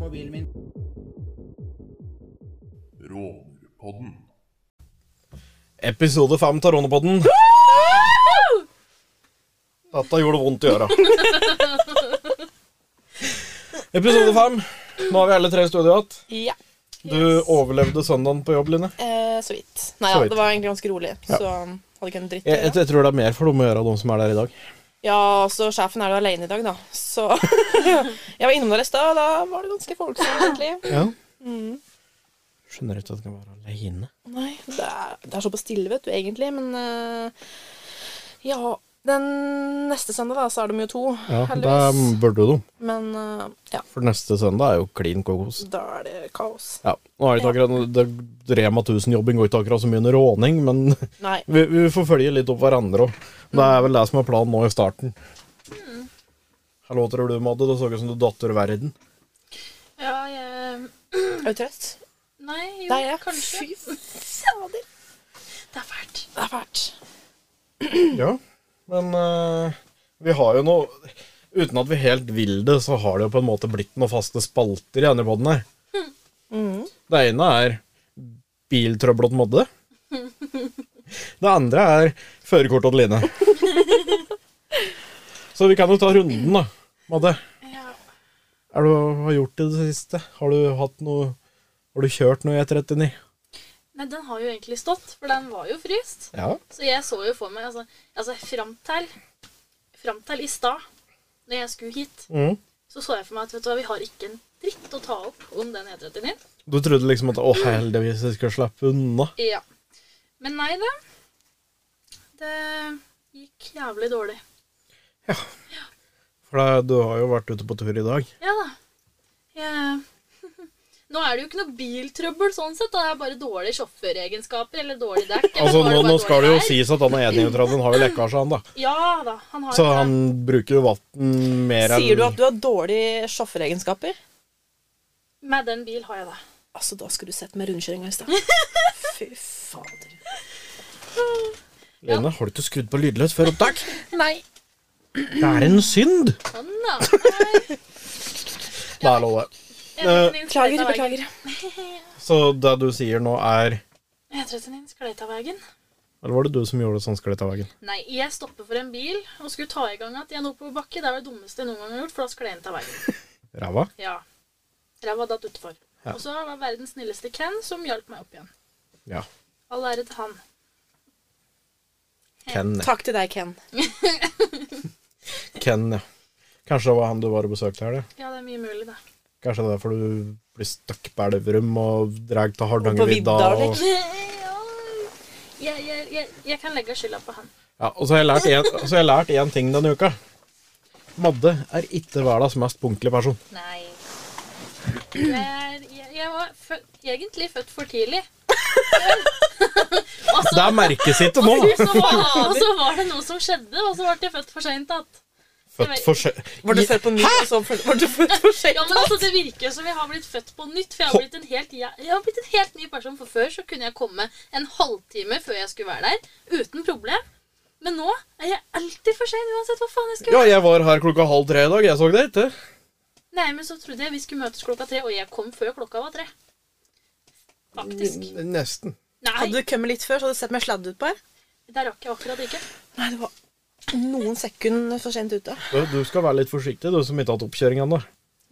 mobilen min. Rånerpodden. Episode fem av Ronepodden. Dette gjorde vondt i øra. Episode fem. Nå har vi alle tre i studio igjen. Ja, Du overlevde søndagen på jobb, Line. eh, så vidt. Nei Så ja, vidt. det var egentlig ganske rolig. Ja. Så um, hadde ikke en dritt å Jeg, jeg, gjøre. jeg tror det er mer for dem å gjøre, de som er der i dag. Ja, så sjefen er jo alene i dag, da. Så jeg var innom der i stad, og da var det ganske folksomt, egentlig. Ja. Mm. Skjønner ikke at det kan være aleine. Nei, det er, det er såpass stille, vet du, egentlig, men eh, Ja. Den neste søndag, da, så er de jo to, Ja, det heldigvis. burde de. Men eh, ja, For neste søndag er jo klin kokos. da er det kaos. Ja, nå er det ikke akkurat det, Rema 1000-jobbing går ikke akkurat så mye under råning, men Nei. vi, vi får følge litt opp hverandre òg. Det er vel det som er planen nå i starten. Hallo, tror du, Madde? Det så ut som du datt ut verden. Ja, jeg Er du trøtt? Nei, jo, Der er jeg. kanskje. Fy fader. Det er fælt. Det er fælt. Ja, men eh, vi har jo noe Uten at vi helt vil det, så har det jo på en måte blitt noen faste spalter i denne podden her. Det ene er biltrøbbel åt Madde. Det andre er førerkort åt Line. Så vi kan jo ta runden, da. Madde, Ja. er du, har du gjort i det siste? Har du hatt noe Har du kjørt noe i E39? Nei, den har jo egentlig stått, for den var jo fryst. Ja. Så jeg så jo for meg Altså, altså fram til Fram til i stad, når jeg skulle hit, Mm. så så jeg for meg at vet du hva, vi har ikke en dritt å ta opp om den E39. Du trodde liksom at å, heldigvis jeg skal slippe unna. Ja. Men nei da. Det gikk jævlig dårlig. For det, du har jo vært ute på tur i dag. Ja da. Jeg Nå er det jo ikke noe biltrøbbel sånn sett. da. Det er bare dårlige sjåføregenskaper eller dårlig dekk. eller Altså, bare nå, var nå dårlig skal det jo vær. sies at han er enig i at han har jo lekkasje, han da. Ja da, han har Så jo det. han bruker jo vann mer enn Sier du at du har dårlige sjåføregenskaper? Med den bil har jeg det. Altså, da skulle du sett med rundkjøringa i stad. Fy fader. Lene, har du ikke skrudd på lydløs før opptak? Nei. Det er en synd! Sånn, da. Nei, Det er lov, det. E39 sklei Beklager, av veien. beklager. Så det du sier nå, er E39 sklei av veien. Eller var det du som gjorde det sånn sklett av veggen? Nei, jeg stoppet for en bil og skulle ta i gang at jeg nå på bakke. Det er det dummeste jeg noen gang har gjort, for da sklei den av veien. Ræva? Ja. Ræva datt utfor. Ja. Og så var verdens snilleste Ken som hjalp meg opp igjen. Ja. All ære til han. Ken, ja. Takk til deg, Ken. Ken, ja. Kanskje det var han du var og besøkte her, det. Ja, det er mye mulig, det. Kanskje det er derfor du blir stuck på Elverum og drar til vidda Hardangervidda og og liksom. Ja, Jeg, jeg, jeg, jeg kan legge skylda på han. Ja, og så har jeg lært en, så har jeg lært en ting denne uka. Madde er ikke verdens mest punktlige person. Nei. Jeg, jeg, jeg var fø egentlig født for tidlig. Det merkes ikke nå. Og så var, og så var det noe som skjedde, og så ble jeg født for seint igjen. Født for se... Var du født på nytt, og så var du født for Ja, sent? men altså, det virker som jeg har blitt født på nytt. For jeg har blitt en helt, jeg, jeg har blitt en helt ny person. For før så kunne jeg komme en halvtime før jeg skulle være der uten problem. Men nå er jeg alltid for sein uansett hva faen jeg skal gjøre. Ja, jeg var her klokka halv tre i dag. Jeg så det ikke. Nei, men så trodde jeg vi skulle møtes klokka tre, og jeg kom før klokka var tre. Faktisk. N- Nesten. Nei, Hadde du kommet litt før, så hadde du sett meg sladde ut på her. der rakk jeg akkurat ikke. Nei, det var noen sekunder for sent ute. Du, du skal være litt forsiktig, du som ikke har hatt oppkjøring ennå.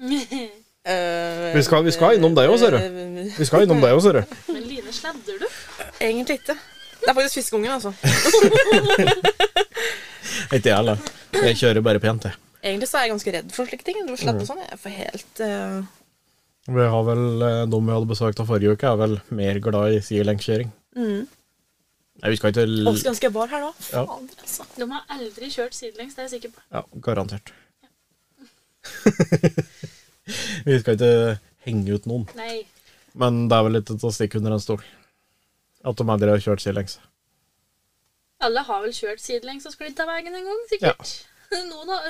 Men Eh, Vi skal- vi skal innom deg også, ser eh, Vi skal innom deg òg, ser du. Line, sladder du? Egentlig ikke. Det er faktisk fiskeungen, altså. Ikke jeg heller. Jeg kjører bare pent, jeg. Egentlig så er jeg ganske redd for slike ting. Du Mm. sladder og sånn. Jeg får helt eh, Vi har vel eh, De vi hadde besøkt av forrige uke, er vel mer glad i sidelengskjøring. mm. Nei, vi skal ikke Å, l... Skulle ønske jeg var her da. Ja. Fader, altså. De har aldri kjørt sidelengs, det er jeg sikker på. Ja, garantert. vi skal ikke henge ut noen. Nei. Men det er vel litt til å stikke under en stol. At de aldri har kjørt sidelengs. Alle har vel kjørt sidelengs og sklidd av veien en gang, sikkert. Noen har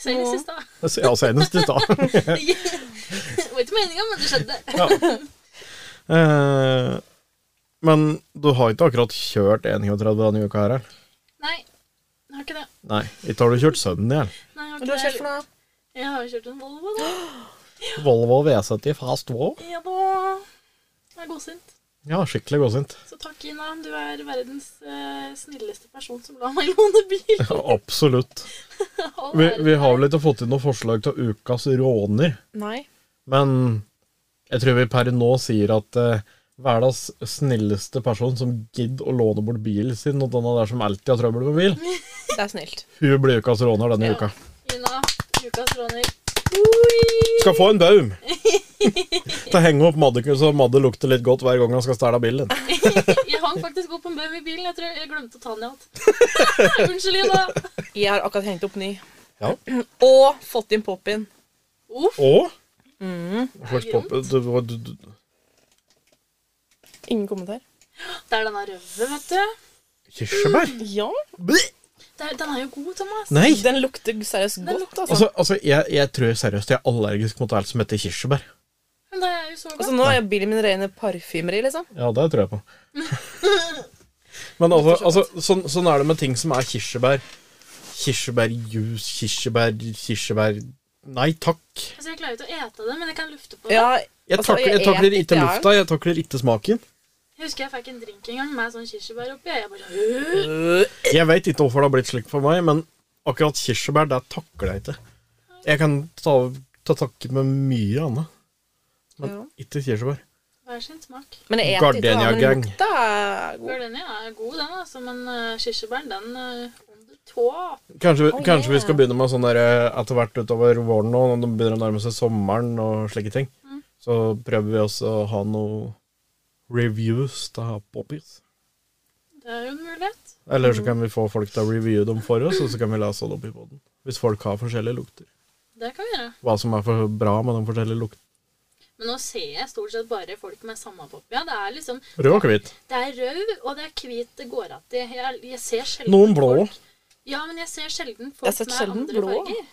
Selv i Noen. siste. Det ser jeg senest i stad. Det var ikke meninga, men det skjedde. Ja. Eh, men du har ikke akkurat kjørt 31 denne uka her? eller? Nei, jeg har ikke det. Nei, ikke har du kjørt sønnen i hjel. Nei, jeg har Men du ikke har det. kjørt for noe? Jeg har jo kjørt en Volvo, da. Volvo V70 Fast Wow. Ja da. Jeg er godsint. Ja, skikkelig godsint. Så takk, Ina. Du er verdens eh, snilleste person som la meg låne bil. Ja, absolutt. All Vi, ære. vi har vel ikke fått inn noen forslag til ukas råner, Nei. men jeg tror vi per nå sier at eh, verdens snilleste person som gidder å låne bort bilen sin, og denne der som alltid har trøbbel med bil, Det er snilt. hun blir ukas råner denne Ja. uka. Ina, ukas råner. Oi! Skal få en baum til å henge opp Madde, så Madde lukter litt godt hver gang han skal stæle bilen. Jeg hang faktisk opp en bøm i bilen. Jeg tror jeg glemte å ta den i alt. Unnskyld, Ina. Jeg har akkurat hengt opp ny. Ja. Og fått inn pop-in. Uff. Og det Først poppe- du- du- du- du- Ingen kommentar. Det er denne røve, vet du. Kirsebær? Ja. Bleh! Det er, den er jo god, Thomas. Nei! Den lukter seriøst Den godt, altså. Altså, altså jeg, jeg tror seriøst jeg er allergisk mot alt som heter kirsebær. Men det er jo så godt. Altså, nå er bilen min rene parfymeri, liksom. Ja, det tror jeg på. Men altså, altså sånn, sånn er det med ting som er kirsebær. Kirsebærjuice, kirsebær, kirsebær Nei takk. Altså, jeg klarer jo ikke å ete det, men jeg kan lufte på det. Ja, Jeg altså, takler, jeg takler et ikke er- lufta, jeg takler ikke smaken. Jeg husker jeg fikk en drink en gang med sånn kirsebær oppi. og Jeg bare øh. Øh, Jeg veit ikke hvorfor det har blitt slik for meg, men akkurat kirsebær, det takler jeg ikke. Jeg kan ta, ta takke med mye annet, men Ja. ikke kirsebær. Hver sin smak. Men jeg eter ikke, da, Gardenia men gang. lukta er god. Gardenia er god, den, altså, men uh, kirsebæren, den uh, on the top. Kanskje, vi- Oh, kanskje vi yeah. skal begynne med sånn der eh, etter hvert utover våren nå, når det begynner å nærme seg sommeren og slike ting. Så prøver vi også å ha noe reviews av poppies. Det er jo en mulighet. Eller så kan vi få folk til å reviewe dem for oss, og så kan vi lese det opp i poden. Hvis folk har forskjellige lukter. Det kan vi gjøre. Hva som er for bra med de forskjellige luktene. Men nå ser jeg stort sett bare folk med samme pop. Ja, det er liksom Rød og hvit. Det er rød, og det er hvit det går att i. Jeg, jeg ser sjelden Noen blå Folk. Ja, men jeg ser sjelden folk Jeg har sett med sjelden andre blå. farger.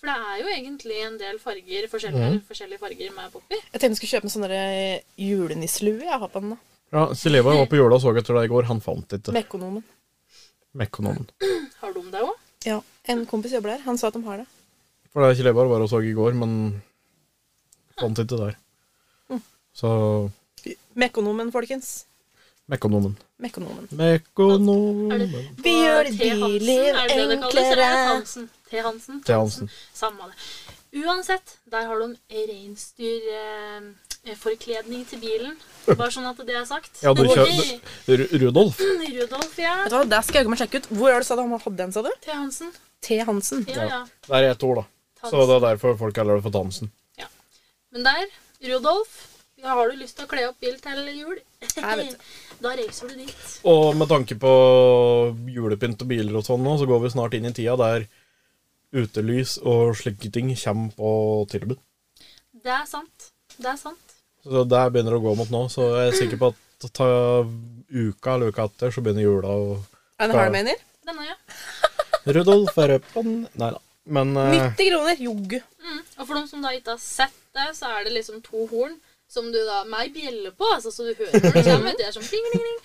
For det er jo egentlig en del farger, forskjellige, Mm. forskjellige farger med pop i. Jeg tenkte jeg skulle kjøpe en sånn der julenisselue jeg har på den. da. Ja, Sileva var på jorda og så etter det i går. Han fant ikke Mekonomen. Mekonomen. Har de det òg? Ja. En kompis jobber der. Han sa at de har det. For det Sileva var og så i går, men fant ikke der. Så Mekonomen, folkens. Mekonomen. Mekonomen. Mekonomen Vi gjør det billig, Er det det det kalles? Eller er det enklere. Hansen? T. Hansen? T. Hansen. Samme det. Uansett, der har de reinsdyrforkledning eh, forkledning til bilen. Bare sånn at det er sagt. Ja, du kjø- Oi, Ru- Rudolf. Rudolf, ja. Vet du hva, Der skal jeg jaggu meg sjekke ut. Hvor er det sa du han hadde den, sa du? T. Hansen. T. Hansen. Ja, ja. Det er ett ord, da. Så Tansen. det er derfor folk kaller det for Tansen. Men der, Rudolf, ja, har du lyst til å kle opp bil til jul? Jeg vet det. Da reiser du dit. Og med tanke på julepynt og biler og sånn nå, så går vi snart inn i tida der utelys og slike ting kommer på tilbud. Det er sant. Det er sant. Så der begynner det å gå mot nå, så jeg er sikker på at ta uka eller uka etter, så begynner jula å Er det Ja. her du mener? Denne, ja. Rudolf er øppen Nei da. Men eh, 90 kroner. Joggu. Mm. Og for dem som da ikke har sett det, så er det liksom to horn som du da med ei bjelle på, altså, så du hører når det kommer. Det er sånn ding, ding, ding.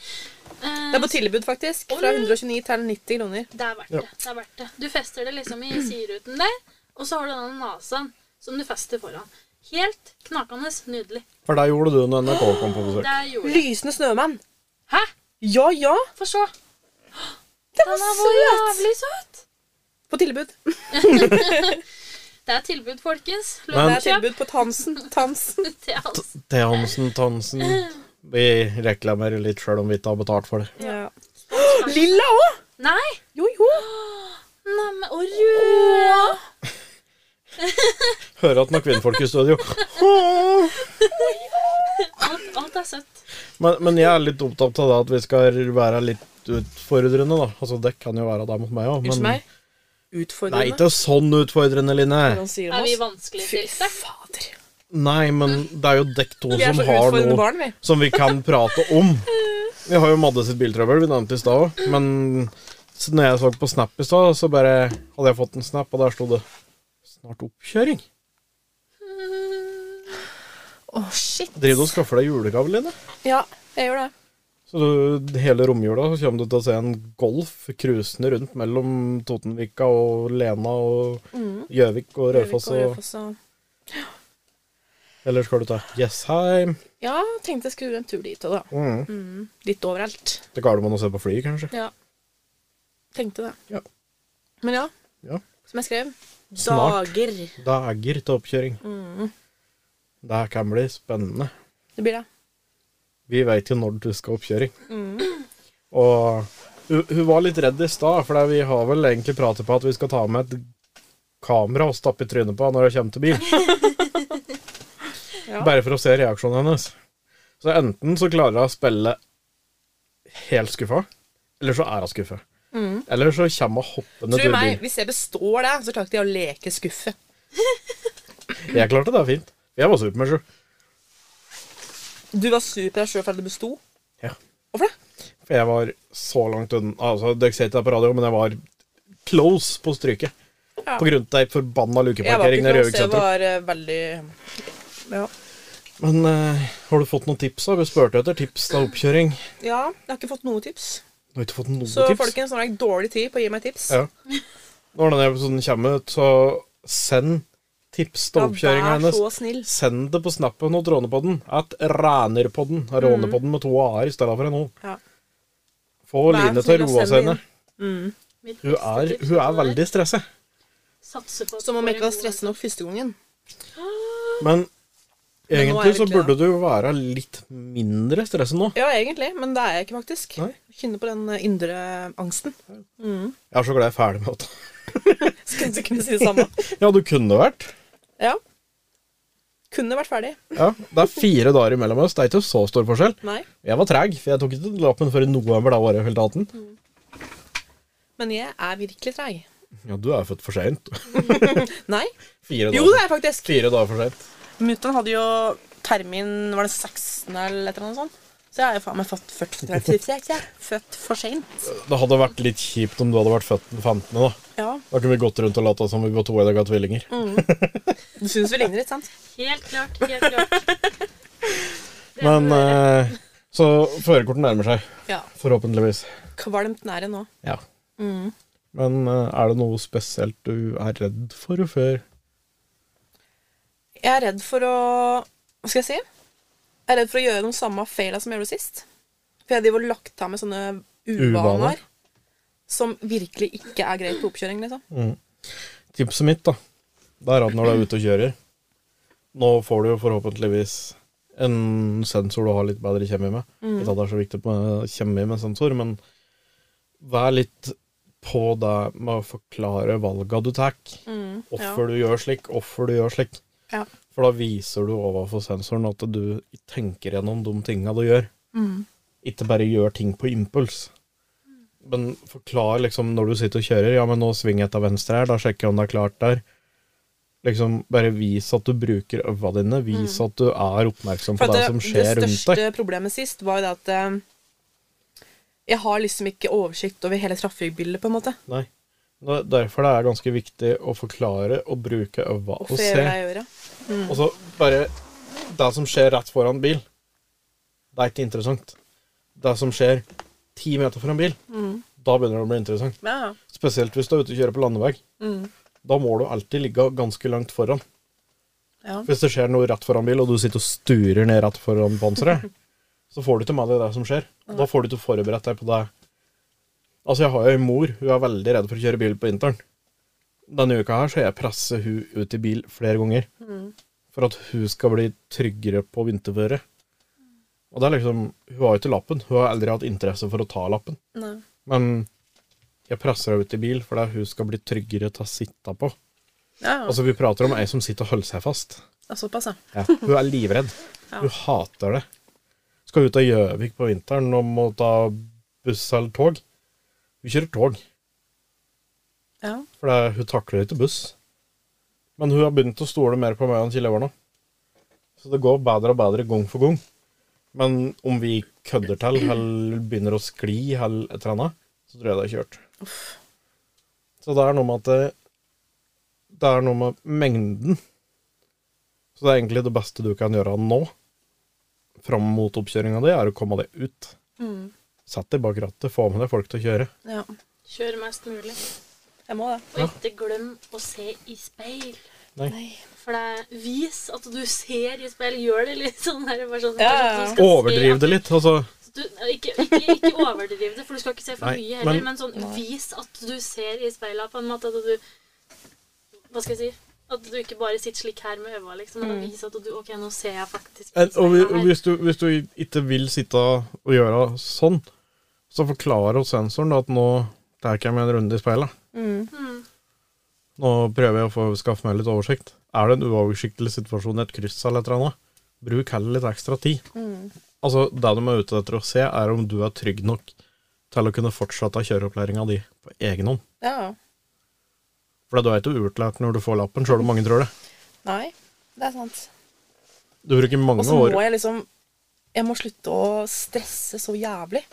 Eh, Det er på tilbud, faktisk. Fra 129 til 90 kroner. det er verdt det. Det er verdt det. Du fester det liksom i sideruten der, og så har du denne nasen som du fester foran. Helt knakende nydelig. For det gjorde du når NRK kom på besøk. Det er jul. Lysende snømann. Hæ? Ja, ja. Få se. Den Den var er så søt! jævlig søt. På tilbud. Det er tilbud, folkens. Det Men- er tilbud på Tansen. Tansen. til hans. T. Hansen, Tansen Vi reklamerer litt sjøl om vi ikke har betalt for det. Ja. Lilla òg! Nei! Jo, jo. Neimen, og rød! Hører at den har kvinnfolk i studio. Alt, alt er søtt. Men, men jeg er litt opptatt av det at vi skal være litt utfordrende, da. Altså, det kan jo være deg mot meg òg, Unnskyld meg. Nei, Utfordrende. ikke sånn utfordrende, Line. Hvordan sier Er vi de oss? Fy vanskeligstilte? fader. Nei, men det er jo dekk to Vi er som så har utfordrende noe barn, vi. som vi kan prate om. Vi har jo Madde sitt biltrøbbel, vi nevnte i stad òg. Men så når jeg så på Snap i stad, så bare hadde jeg fått en snap, og der sto det 'Snart oppkjøring'. Å, shit. Driver du og skaffer deg julegave, Line? Ja, jeg gjør det. Så du, hele romjula så kommer du til å se en Golf cruisende rundt mellom Totenvika og Lena og Gjøvik og Raufoss. Gjøvik og Og, Raufoss og Eller skal du ta Jessheim, Ja, tenkte jeg skulle en tur dit òg, da. mm. Mm, litt overalt. til Gardermoen og se på flyet, kanskje? Ja. Tenkte det. Ja. Men ja, Ja. som jeg skrev Snart. Dager. Dager til oppkjøring. Det her kan bli spennende. Det blir det. Vi veit jo når du skal oppkjøring. Mm. Og hun, hun var litt redd i stad, for vi har vel egentlig pratet på at vi skal ta med et kamera og stappe i trynet på henne når hun kommer til bil. Ja. Bare for å se reaksjonen hennes. Så enten så klarer hun å spille helt skuffa, eller så er hun skuffa. Eller så kommer hun hoppende Tro til Mm. meg, bil. hvis jeg består det, så klarer ikke jeg å leke skuffet. Jeg klarte det fint. Jeg var super med sju. Du var sur på deg sjøl for at du besto. Ja. Hvorfor det? For jeg var så langt unna Altså, dere ser ikke det på radio, men jeg var close på stryket. Ja. På grunn av ei forbanna Jeg var lukeparkering ikke i klar, så jeg Røyksentrum. var eh, veldig ja. Men eh, har du fått noen tips? da? Vi spurte etter tips til oppkjøring. Du ja, jeg har ikke fått noe tips. har ikke fått noen Så tips? folkens, nå har jeg dårlig tid på å gi meg tips. Ja. Når denne episoden kommer ut, så send tips til oppkjøringa vær hennes. så snill. Send det på snappen og rånepodden. At rænerpodden. Mm. Rånepodden med to a-er i stedet for en o. Ja. Få Vær så Line til å snill og roe send det seg ned. Mitt Hun beste er, tips hun til er deg, veldig stressa. satse på at Som du om får jeg ikke en var god stressa nok første gangen. Men nå er egentlig det så ikke det, burde du jo være litt mindre stressa nå. Ja, egentlig, men det er jeg ikke, faktisk. Nei. Jeg Kjenner på den eh, indre angsten. Jeg er så glad jeg er ferdig med det. Skulle ikke kunne si det samme. Ja, du kunne vært. Ja. Kunne vært ferdig. Ja, Det er fire dager imellom oss. Det er ikke så stor forskjell. Nei. Jeg var treg, for jeg tok ikke lappen før i november da året fylte 18. Men jeg er virkelig treig. Ja, du er født for seint. Nei. Fire, Jo, det dager- er jeg faktisk. fire dager for seint. Mutter'n hadde jo termin Var det 16. eller et eller annet sånt? Så jeg er jo faen meg født født, født, født, født for seint. Det hadde vært litt kjipt om du hadde vært født den 15., da. Ja. Da kunne vi gått rundt og latt som vi var to i dag av tvillinger. Du syns vi ligner litt, sant? Helt klart. Helt klart. Det er Men noe å gjøre. eh, Så førerkortet nærmer seg. Ja. Forhåpentligvis. Kvalmt nære nå. Ja. Mm. Men eh, er det noe spesielt du er redd for før? Jeg er redd for å Hva skal jeg si? Jeg er redd for å gjøre de samme feila som jeg gjorde sist. For jeg driver og lagt av med sånne Uvaner. uvaner som virkelig ikke er greit på oppkjøring, liksom. Tipset mitt, da, det er at når du er ute og kjører Nå får du jo forhåpentligvis en sensor du har litt bedre kjemi med. Mm. Ikke at det er så viktig med kjemi med sensor, men vær litt på det med å forklare valga du tar. Mm, ja. Hvorfor du gjør slik, hvorfor du gjør slik. Ja. For da viser du overfor sensoren at du tenker gjennom de tinga du gjør. Ikke bare gjør ting på impuls. Men forklar liksom når du sitter og kjører Ja, men nå svinger jeg til venstre her, da sjekker jeg om det er klart der. Liksom Bare vis at du bruker øva dine. Vis at du er oppmerksom på For det, at som skjer det rundt deg. største problemet sist var jo det at eh, jeg har liksom ikke oversikt over hele trafikkbildet, på en måte. Nei. Nå- Derfor det er ganske viktig å forklare og bruke øva og Hvorfor se. gjør jeg det jeg gjør, ja. Og så bare Det som skjer rett foran bil, det er ikke interessant. Det som skjer ti meter foran bil, da begynner det å bli interessant. Ja, ja. Spesielt hvis du er ute og kjører på landevei. Da må du alltid ligge ganske langt foran. Ja. Hvis det skjer noe rett foran bil, og du sitter og sturer ned rett foran panseret, så får du ikke med deg det som skjer. Da får du ikke forberedt deg på det. Altså, jeg har jo en mor, hun er veldig redd for å kjøre bil på vinteren. Denne uka her så har jeg presset hun ut i bil flere ganger. For at hun skal bli tryggere på vinterføre. Og det er liksom, hun har jo ikke lappen, hun har aldri hatt interesse for å ta lappen. Nei. Men jeg presser henne ut i bil fordi hun skal bli tryggere til å sitte på. Ja, ja. Altså, vi prater om ei som sitter og holder seg fast. Ja, Såpass, ja. Ja, hun er livredd. Hun hater det. Skal ut av Gjøvik på vinteren og må ta buss eller tog. Hun kjører tog, ja. for det, hun takler ikke buss. Men hun har begynt å stole mer på meg enn Kjell Øver nå. Så det går bedre og bedre gang for gang. Men om vi kødder til, eller begynner å skli, eller et eller annet, så tror jeg det er kjørt. Så det er noe med at det, det er noe med mengden. Så det er egentlig det beste du kan gjøre nå, fram mot oppkjøringa di, er å komme deg ut. Sett deg bak rattet, få med deg folk til å kjøre. ja. Kjør mest mulig. Jeg må det. Og ikke glem å se i speil. Nei. For det er vis at du ser i speil, gjør det litt sånn der. Bare sånn, Ja, kanskje at ja. du skal se Overdriv at det litt. Altså, Du, ikke, ikke, ikke overdriv det, for du skal ikke se for Nei, mye heller. men- Men, sånn, vis at du ser i speilet på en måte. At du Hva skal jeg si? At du ikke bare sitter slik her med øva, liksom. Men Mm. vis at du OK, nå ser jeg faktisk i en- Eh, og vi- speilet her. hvis du, hvis du ikke vil sitte og gjøre sånn, så forklarer oss sensoren da at nå tar jeg meg en runde i speilet. Mm. Nå prøver jeg å få skaffe meg litt oversikt. Er det en uoversiktlig situasjon, et kryss eller et eller annet, bruk heller litt ekstra tid. Mm. Altså, det de er ute etter å se, er om du er trygg nok til å kunne fortsette kjøreopplæringa di på egen hånd. Ja. For du er ikke uutlært når du får lappen, sjøl om mange tror det. Nei, det er sant. Du bruker mange Og så må år jeg liksom Jeg må slutte å stresse så jævlig.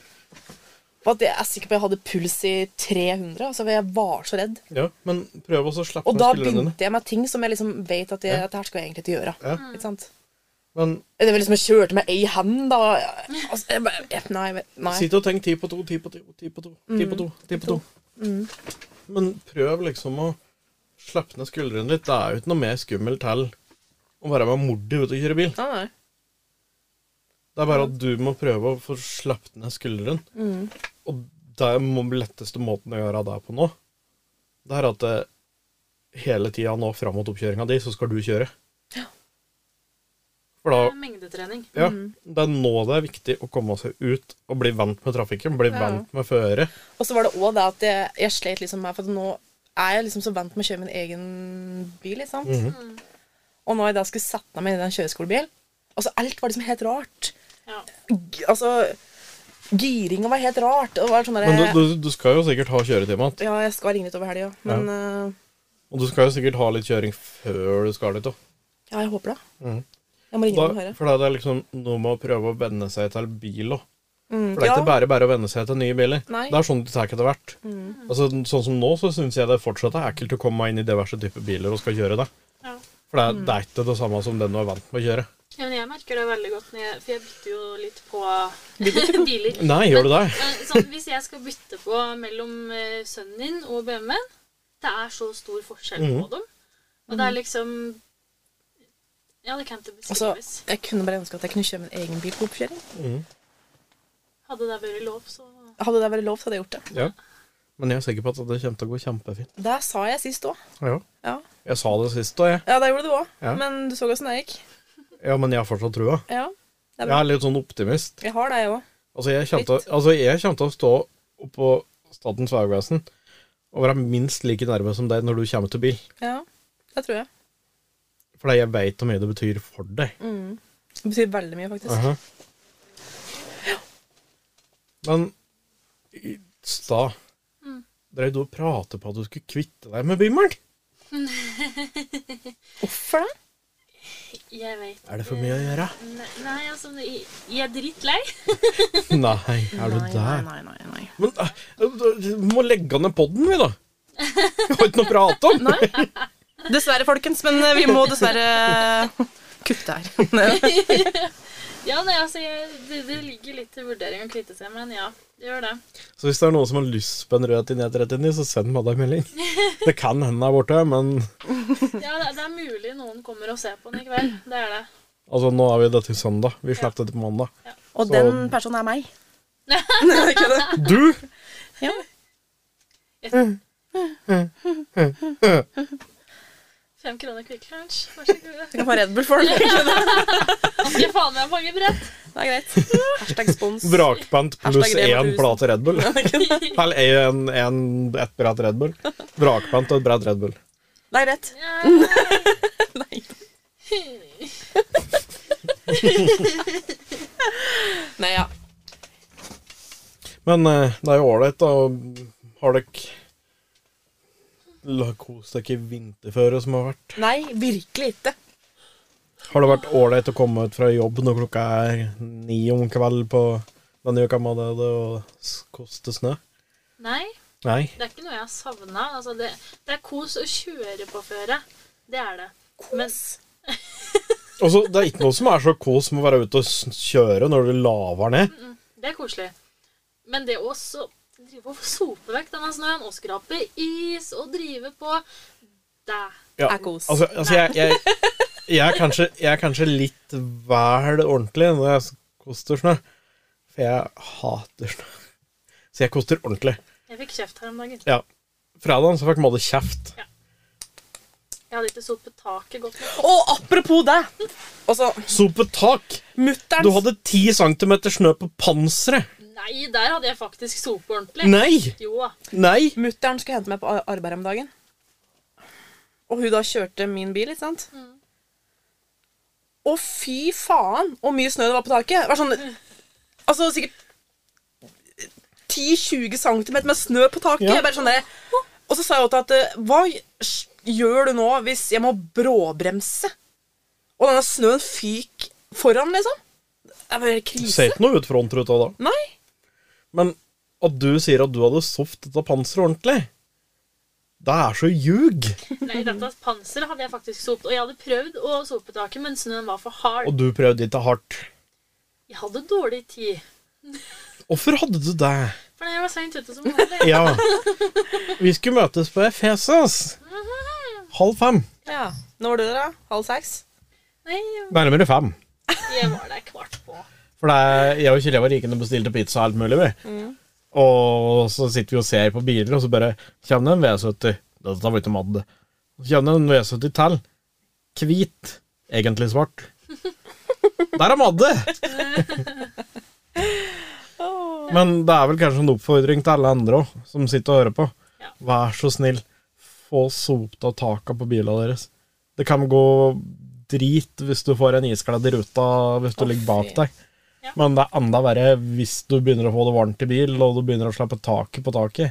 For at jeg er sikker på at jeg hadde puls i 300. Altså, for jeg var så redd. Ja, men prøv også å slappe Og ned da spillerne dine. begynte jeg med ting som jeg liksom vet at, jeg, Ja. at det her skal jeg egentlig ikke gjøre. Ja. Ikke sant? Men Det var liksom Jeg kjørte med ei hand, da. Altså, jeg bare, jeg- nei, jeg vet- nei. sitt og tenk ti på to, ti på to, ti på to, ti på to, Mm. ti på to. Mm. Men prøv liksom å slappe ned skuldrene litt. Det er jo ikke noe mer skummelt til å være med mordi ute og kjøre bil. Nei, nei. Det er bare at du må prøve å få slappet ned skulderen. Og det er den letteste måten å gjøre det på nå. Det er at eh, hele tida nå fram mot oppkjøringa di, så skal du kjøre. For da Det er Mengdetrening. Ja, det er nå det er viktig å komme seg ut og bli vant med trafikken, bli vant med føret. Og så var det òg det at jeg, jeg slet liksom med For at nå er jeg liksom så vant med å kjøre min egen bil, ikke sant. Mhm. Og når jeg da skulle sette meg inn i en kjøreskolebil Altså, alt var liksom helt rart. Ja. G- Altså, giringa var helt rart. Og det var sånn der, Men du, du, du skal jo sikkert ha kjøretime igjen, Ja, jeg skal ringe litt over helga, men eh, og du skal jo sikkert ha litt kjøring før du skal dit òg. ja, jeg håper det. Mhm. Jeg må ringe dem og høre. For det er liksom noe med å prøve å venne seg til bil òg. For det er Mm, ja. ikke bare bare å venne seg til nye biler. Nei. Mm. Det er sånn du tar etter hvert. Altså, sånn som nå, så syns jeg det fortsatt er ekkelt å komme inn i diverse typer biler og skal kjøre det. Ja. For det Mm. er, det er ikke det samme som den du er vant med å kjøre. Ja, men jeg merker det veldig godt, når jeg, for jeg bytter jo litt på biler. Nei, gjør du det? Eh, Sånn, hvis jeg skal bytte på mellom eh, sønnen din og BMW-en Det er så stor forskjell på dem. Og det er liksom Ja, det kan ikke Altså, beskrives. jeg kunne bare ønske at jeg kunne kjøre min egen bil på oppkjøring. Hadde det vært lov, så Hadde det vært lov, så hadde jeg gjort det. Ja. Men jeg er sikker på at det kommer til å gå kjempefint. Det sa jeg sist òg. Ja. Ja. Jeg sa det sist òg, jeg. ja, det gjorde du òg. Ja. Men du så åssen det gikk. Ja, men jeg har fortsatt trua. Ja, det er Jeg bra. er litt sånn optimist. Jeg har det, jeg òg. Altså, jeg kommer til, å- altså, jeg kommer til å stå oppå Statens vegvesen og være minst like nærme som deg når du kommer til bil. Ja, det tror jeg. Fordi jeg veit hvor mye det betyr for deg. Mm. Det betyr veldig mye, faktisk. Aha. Men i stad Mm. dreiv du og pratet på at du skulle kvitte deg med bimmelen? Hvorfor det? jeg vet Er det for mye å gjøre? Ne- Nei, altså Jeg jeg er drittlei. Nei, er du Nei, nei, der? nei, nei, nei. Men eh, vi må legge ned podden, vi, da. Vi har ikke noe å prate om. Dessverre, folkens, men eh, vi må dessverre eh, kutte her. Ja, nei, altså jeg, det, det ligger litt til vurdering å kvitte seg med, men ja. Det gjør det. Så hvis det er noen som har lyst på en rød tinja 39, så send meg da en melding. Det kan hende der borte, men Ja, det, det er mulig noen kommer og ser på den i kveld. Det er det. altså, nå er vi det til søndag. Vi slapp det til mandag. Og Så- den personen er meg. Nei, kødder. Du! Ja. Fem kroner Quick Lunch. Vær så god. Du kan få Red Bull for den. Ikke faen meg mange brett. Det er greit. Hashtag spons. Vrakpant pluss Hashtag Rema én 1000. plate Red Bull. Eller en, en, ett brett Red Bull. Vrakpant og et brett Red Bull. Det er greit. Ja. Nei. Nei, ja. Men eh, det er jo ålreit, da. og Har dere La- Kost dere i vinterføret som har vært. Nei, virkelig ikke. Har det vært ålreit å komme ut fra jobb når klokka er ni om kvelden på denne uka med det det å s- koste snø? Nei. Nei. Det er ikke noe jeg har savna. Altså det, det er kos å kjøre på føre. Det er det. Men, Og så, Altså, Det er ikke noe som er så kos som å være ute og s- kjøre når du laver ned. det er koselig. Men det å så drive og sope vekk denne snøen og skrape is og drive på deg. Ja, Er kos. Altså, altså jeg, jeg, jeg, er kanskje, jeg er kanskje litt vel ordentlig når jeg koster snø. For jeg hater snø. Så jeg koster ordentlig. Jeg fikk kjeft her om dagen. Ja. Fredagen så fikk Madde kjeft. Jeg hadde ikke sopet taket godt nok. Og apropos det! Altså, Sopet tak! Du mutter'n hadde ti centimeter snø på panseret! Nei, der hadde jeg faktisk sopet ordentlig. Nei! Jo da. Nei! Mutter'n skulle hente meg på ar- arbeid om dagen. Og hun da kjørte min bil, ikke sant? Å, fy faen hvor mye snø det var på taket! Det var sånn Altså sikkert 10-20 cm med snø på taket. Ja. Jeg Bare sånn der. Og så sa jeg også at eh, Hva s- gjør du nå hvis jeg må bråbremse? Og denne snøen fyk foran, liksom? Det er bare Du krise. ser ikke noe ut frontruta da. Nei. Men at du sier at du hadde soft dette panseret ordentlig, det er så ljug! Nei, dette panseret hadde jeg faktisk sopet. Og jeg hadde prøvd å sope taket, men snøen var for hard. Og du prøvde ikke hardt. Jeg hadde dårlig tid. Hvorfor hadde du det? For jeg var seint ute som vanlig. Ja. Vi skulle møtes på Efesos. Halv fem. Ja. Når var du der, da? Halv seks? Nei, Nærmere fem. jeg var der kvart på. For det er, jeg og Kjell var rikende og bestilte pizza og alt mulig. Vi. Og så sitter vi og ser på biler, og så bare kommer det en V70. Dette var ikke Madde. Så kommer det en V70 til. Hvit. Egentlig svart. Der er Madde! Men det er vel kanskje en oppfordring til alle andre òg, som sitter og hører på. Ja. Vær så snill, få sopt av taka på bilene deres. Det kan gå drit hvis du får en iskledd i ruta hvis du Å, ligger bak fy. deg. Ja. Men det er enda verre hvis du begynner å få det varmt i bil, og du begynner å slappe taket på taket,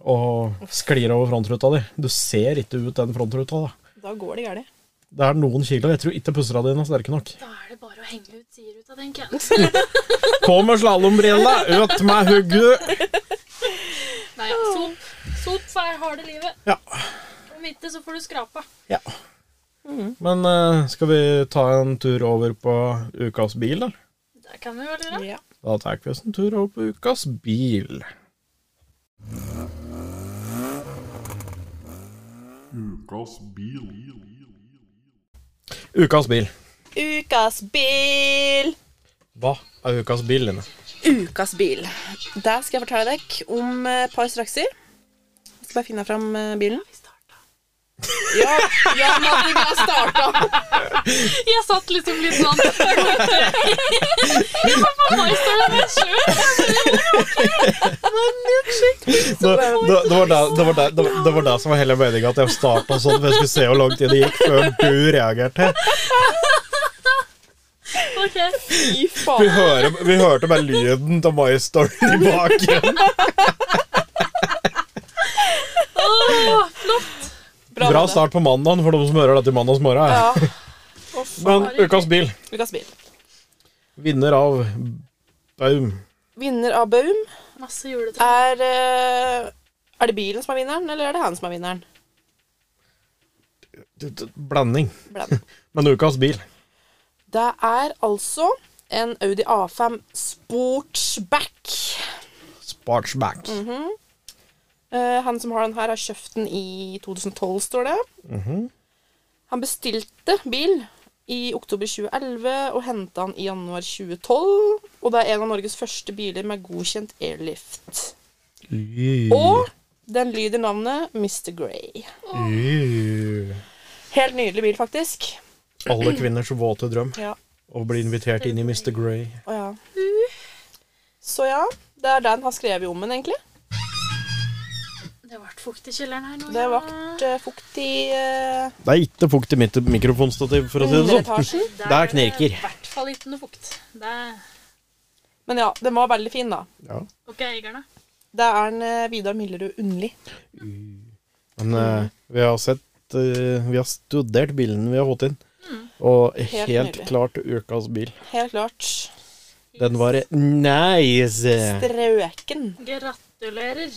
og sklir over frontruta di. Du ser ikke ut den frontruta, da. Da går det galt. Det er noen kilo. Jeg tror ikke pusserne dine er sterke nok. Da er det bare å henge ut sideruta, tenker jeg. På med slalåmbrilla, ut med hugget! Nei, ja, sop. Sop for harde livet. Ja. Om ikke, så får du skrapa. Ja. Men eh, skal vi ta en tur over på ukas bil, da? Det kan vi vel gjøre. Ja. Da tar vi oss en tur over på ukas bil. Ukas bil. Ukas bil. Ukas bil! Hva er ukas bil, Line? Ukas bil. Der skal jeg fortelle dere om eh, et par strakser. Jeg skal bare finne fram eh, bilen. Ja, ja Madde, vi har starta. Jeg satt liksom litt sånn Jeg var på Maistøla med sjøl. Det, det, det, var det, det, var det, det, var- det var det som var hele meninga, at jeg starta sånn. For jeg skulle se hvor lang tid det gikk før du reagerte. Ok. Fy Vi, faen. hører, vi hørte bare lyden av Maistølen i bakgrunnen. Åh, flott. Bra Madde. start på mandagen for de som hører dette i mandagsmorgen. Ja. Men ukas bil. Ukas bil. Vinner av Baum. Vinner av Baum Masse juletre. er eh, Er det bilen som er vinneren, eller er det han som er vinneren? D- d- Blanding. Bland. Men ukas bil. Det er altså en Audi A5 Sportsback. Spartsback. Eh, han som har den her, har kjøpt den i 2012, står det. Han bestilte bil i oktober 2011 og henta den i januar 2012. Og det er en av Norges første biler med godkjent airlift. Mm-hmm. Og den lyder navnet Mr. Grey. Yeah. Helt nydelig bil, faktisk. Alle kvinners våte drøm. Ja. Å bli invitert inn i Mr. Grey. Å ja. Så ja, det er den han skrev om den, egentlig. Det ble fukt i kjelleren her nå. Det ja. ble eh, fukt i eh, Det er ikke fukt i mitt mikrofonstativ, for å si det sånn. underetasjen. Der Der er det knirker. I hvert fall ikke noe fukt. Det er Men ja, den var veldig fin, da. Ja. OK, eierne. Det er en eh, Vidar Millerud Undli. Men eh, vi har sett eh, Vi har studert bilen vi har fått inn. Og helt, Mm. Helt nydelig. klart ukas bil. Helt klart. Den var nice! Strøken. Gratulerer.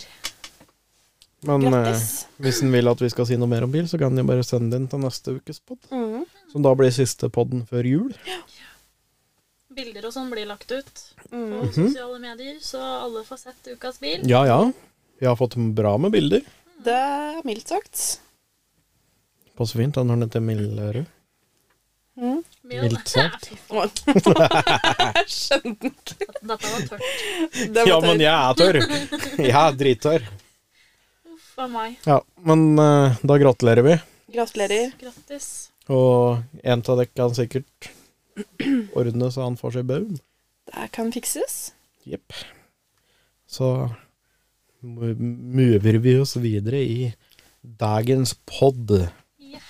Men eh, Grattis. hvis en vil at vi skal si noe mer om bil, så kan en bare sende den til neste ukes pod. Mm. Som da blir siste podden før jul. Bilder og sånn blir lagt ut på Mm. sosiale medier, så alle får sett ukas bil. Ja ja. Vi har fått bra med bilder. Det er mildt sagt. Passer fint. Den har den til Millerud. Mjøl. Mildt sagt. Oi. Jeg skjønte den. Dette var tørt. Det var Ja, men jeg er tørr. Jeg er drittørr. Uff a meg. Ja, men eh, da gratulerer vi. tørt. Gratulerer. Grattis. Og en av dere kan sikkert ordne så han får seg baum. Det kan fikses. Jepp. Så mu- mover vi oss videre i dagens pod. Ja.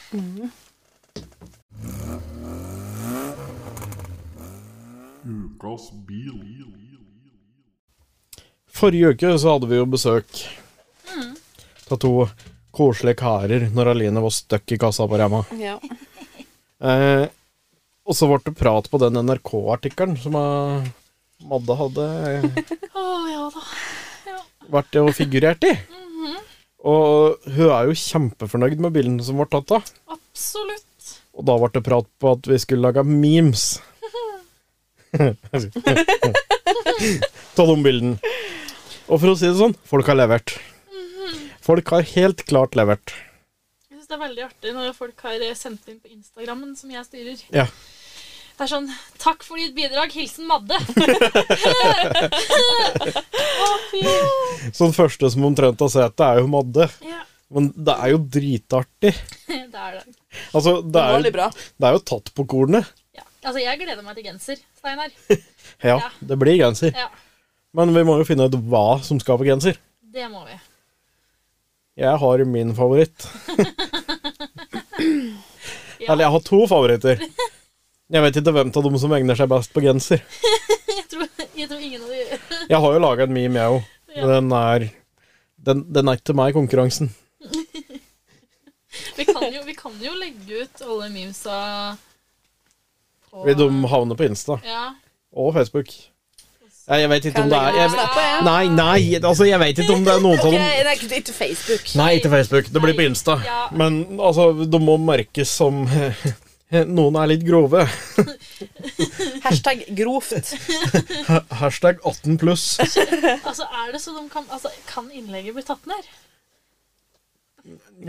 Ukas bil. Forrige uke så hadde vi jo besøk av to koselige karer når Aline var stuck i kassa på Rema. Ja. Eh, og så ble det prat på den NRK-artikkelen som eh, Madde hadde Å ja da. vært og figurert i. Mhm. Og hun er jo kjempefornøyd med bildene som ble tatt av. Absolutt. Og da ble det prat på at vi skulle lage memes. Ta de bildene. Og for å si det sånn, folk har levert. Mhm. Folk har helt klart levert. Jeg syns det er veldig artig når folk har eh, sendt inn på Instagrammen, som jeg styrer. Ja. Det er sånn 'Takk for ditt bidrag. Hilsen Madde'. Å, fy. Så den Sånn første som omtrent har sett det, er jo Madde. Ja, Men det er jo dritartig. det er det. Altså, det Det var er, veldig jo, bra. det er jo tatt på kornet. Ja. Altså, jeg gleder meg til genser, Steinar. Ja, Ja. det blir genser. Ja, Men vi må jo finne ut hva som skal på genser. det må vi. Jeg har min favoritt. Ja. Eller jeg har to favoritter. Jeg vet ikke hvem av dem som egner seg best på genser. Jeg tror, jeg tror ingen av de gjør Jeg har jo laga en meme, jeg òg. Ja. Den er den, den er ikke til meg, konkurransen. vi kan, jo, vi kan jo legge ut alle memesa på Vil de havne på Insta Ja. og Facebook? Nei, Jeg vet ikke om Kan det er legge på jeg, Snap, ja. Nei, nei, altså, jeg vet ikke om det er noen av Ok, dem det er ikke, ikke Facebook. Nei, ikke Facebook. Det blir på Insta. Ja. Men altså, de må merkes som Noen er litt grove. Hashtag grovt. Hashtag 18 pluss. Altså, er det så de kan altså, Kan innlegget bli tatt ned?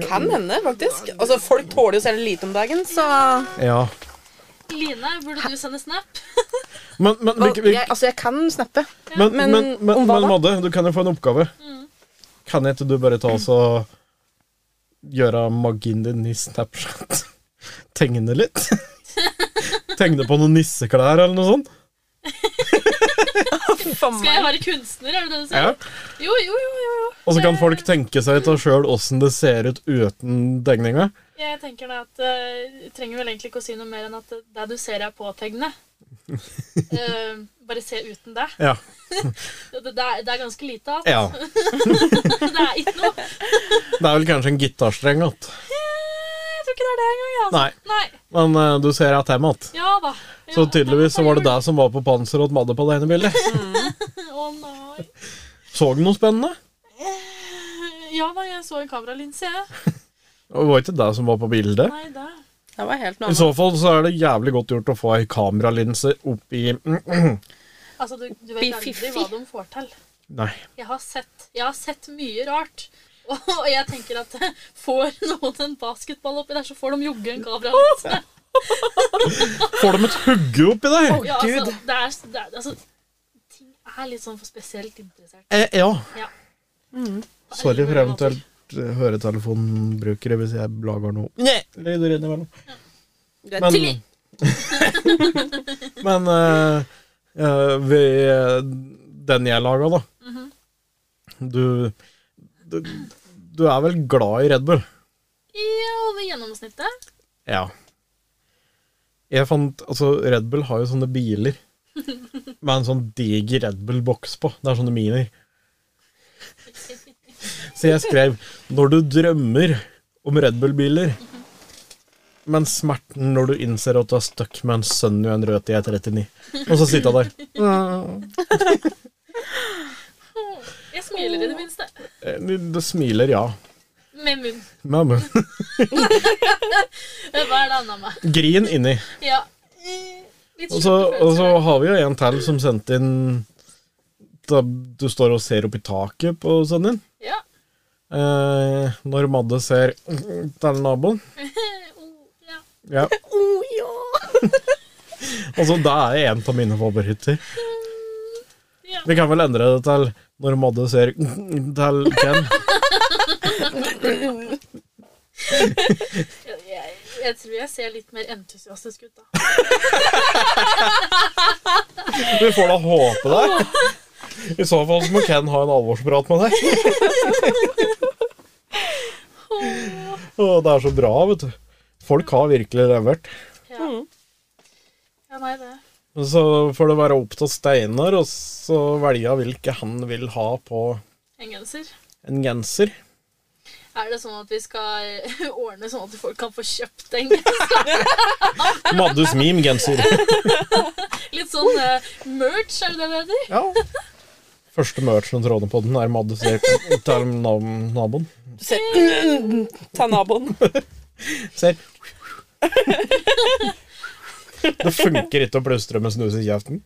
Kan hende, faktisk. Altså, Folk tåler jo selv lite om dagen, så Ja. Line, burde du sende snap? Men, men, vi- vi- jeg, Altså, jeg kan snappe. men, men, men men, men, om hva da? Madde, du kan jo få en oppgave. Kan ikke du bare ta oss og gjøre magien din i Snapchat? Tegne litt? Tegne på noen nisseklær eller noe sånt? For Skal jeg meg. være kunstner, er det det du sier? Ja. Jo, jo, jo, jo, jo. Og så kan folk tenke seg av sjøl åssen det ser ut uten tegninga. Jeg tenker da at eh, jeg trenger vel egentlig ikke å si noe mer enn at det du ser, er påtegnende. Eh, bare se uten det. Ja. Det, det, er, det er ganske lite av. Altså, ja. Det er ikke noe. Eh, Det er vel kanskje en gitarstreng igjen. Jeg tror ikke det er det engang. Altså. Nei, Nei. men eh, du ser at jeg er igjen. Ja da. Ja, Så tydeligvis så var det det som var på panseret til Madde på det ene bildet. Å nei. Så du noe spennende? Ja da, jeg så en kameralinse, jeg. Det var ikke det som var på bildet. Nei, det. Det var helt I noe annet. så fall så er det jævlig godt gjort å få ei kameralinse mm, oppi Altså, du, du Bli vet aldri fiffig. hva de får til. Nei. Jeg har sett, jeg har sett mye rart. Og, og jeg tenker at får noen en basketball oppi der, så får de jogge en kameralinse. Får de et hugge oppi der? Ja, altså, Gud. det er, det er, altså, ting er litt sånn for spesielt interessert. Eh, ja. Ja. Sorry for eventuelt eh, høretelefonbrukere hvis jeg lager noe Nei, lyder innimellom. Greit. Men, men eh, eh, vi, den jeg laga, da du, du Du er vel glad i Red Bull? Ja, over gjennomsnittet. Ja. Jeg fant, altså Red Bull har jo sånne biler med en sånn diger Red Bull-boks på. Det er sånne minier. Så jeg skrev 'Når du drømmer om Red Bull-biler', men smerten når du innser at du er stuck med en sønn i en rød i 39. Og så sitter jeg der. Jeg smiler i det minste. Eh, Du du smiler, ja. Med munn. Med munnen. Hva er det annet med? Grin inni. Ja. eh, Litt Og så, og så har vi jo en til som sendte inn da Du står og ser opp i taket på sønnen din. Ja. Eh, når Madde ser til naboen, Ja. Oh, ja. Altså, det er en av mine favoritter. Ja. Vi kan vel endre det til når Madde ser til Ken. Jeg, jeg, jeg tror jeg ser litt mer entusiastisk ut, da. Vi får da håpe det. I så fall så må Ken ha en alvorsprat med deg. Å, det er så bra, vet du. Folk har virkelig levert. Ja, ja nei, det. Så får det være opp til Steinar og så velge hvilke han vil ha på En genser. en genser. Er det sånn at vi skal ordne sånn at folk kan få kjøpt en genser? Maddes meme-genser. Litt sånn eh, merch, er det det det heter? Ja. Første merchen trådene på den er Maddes hjelp til nab- naboen. Du ser Ta naboen. Ser. Det funker ikke å plystre med snus i kjeften.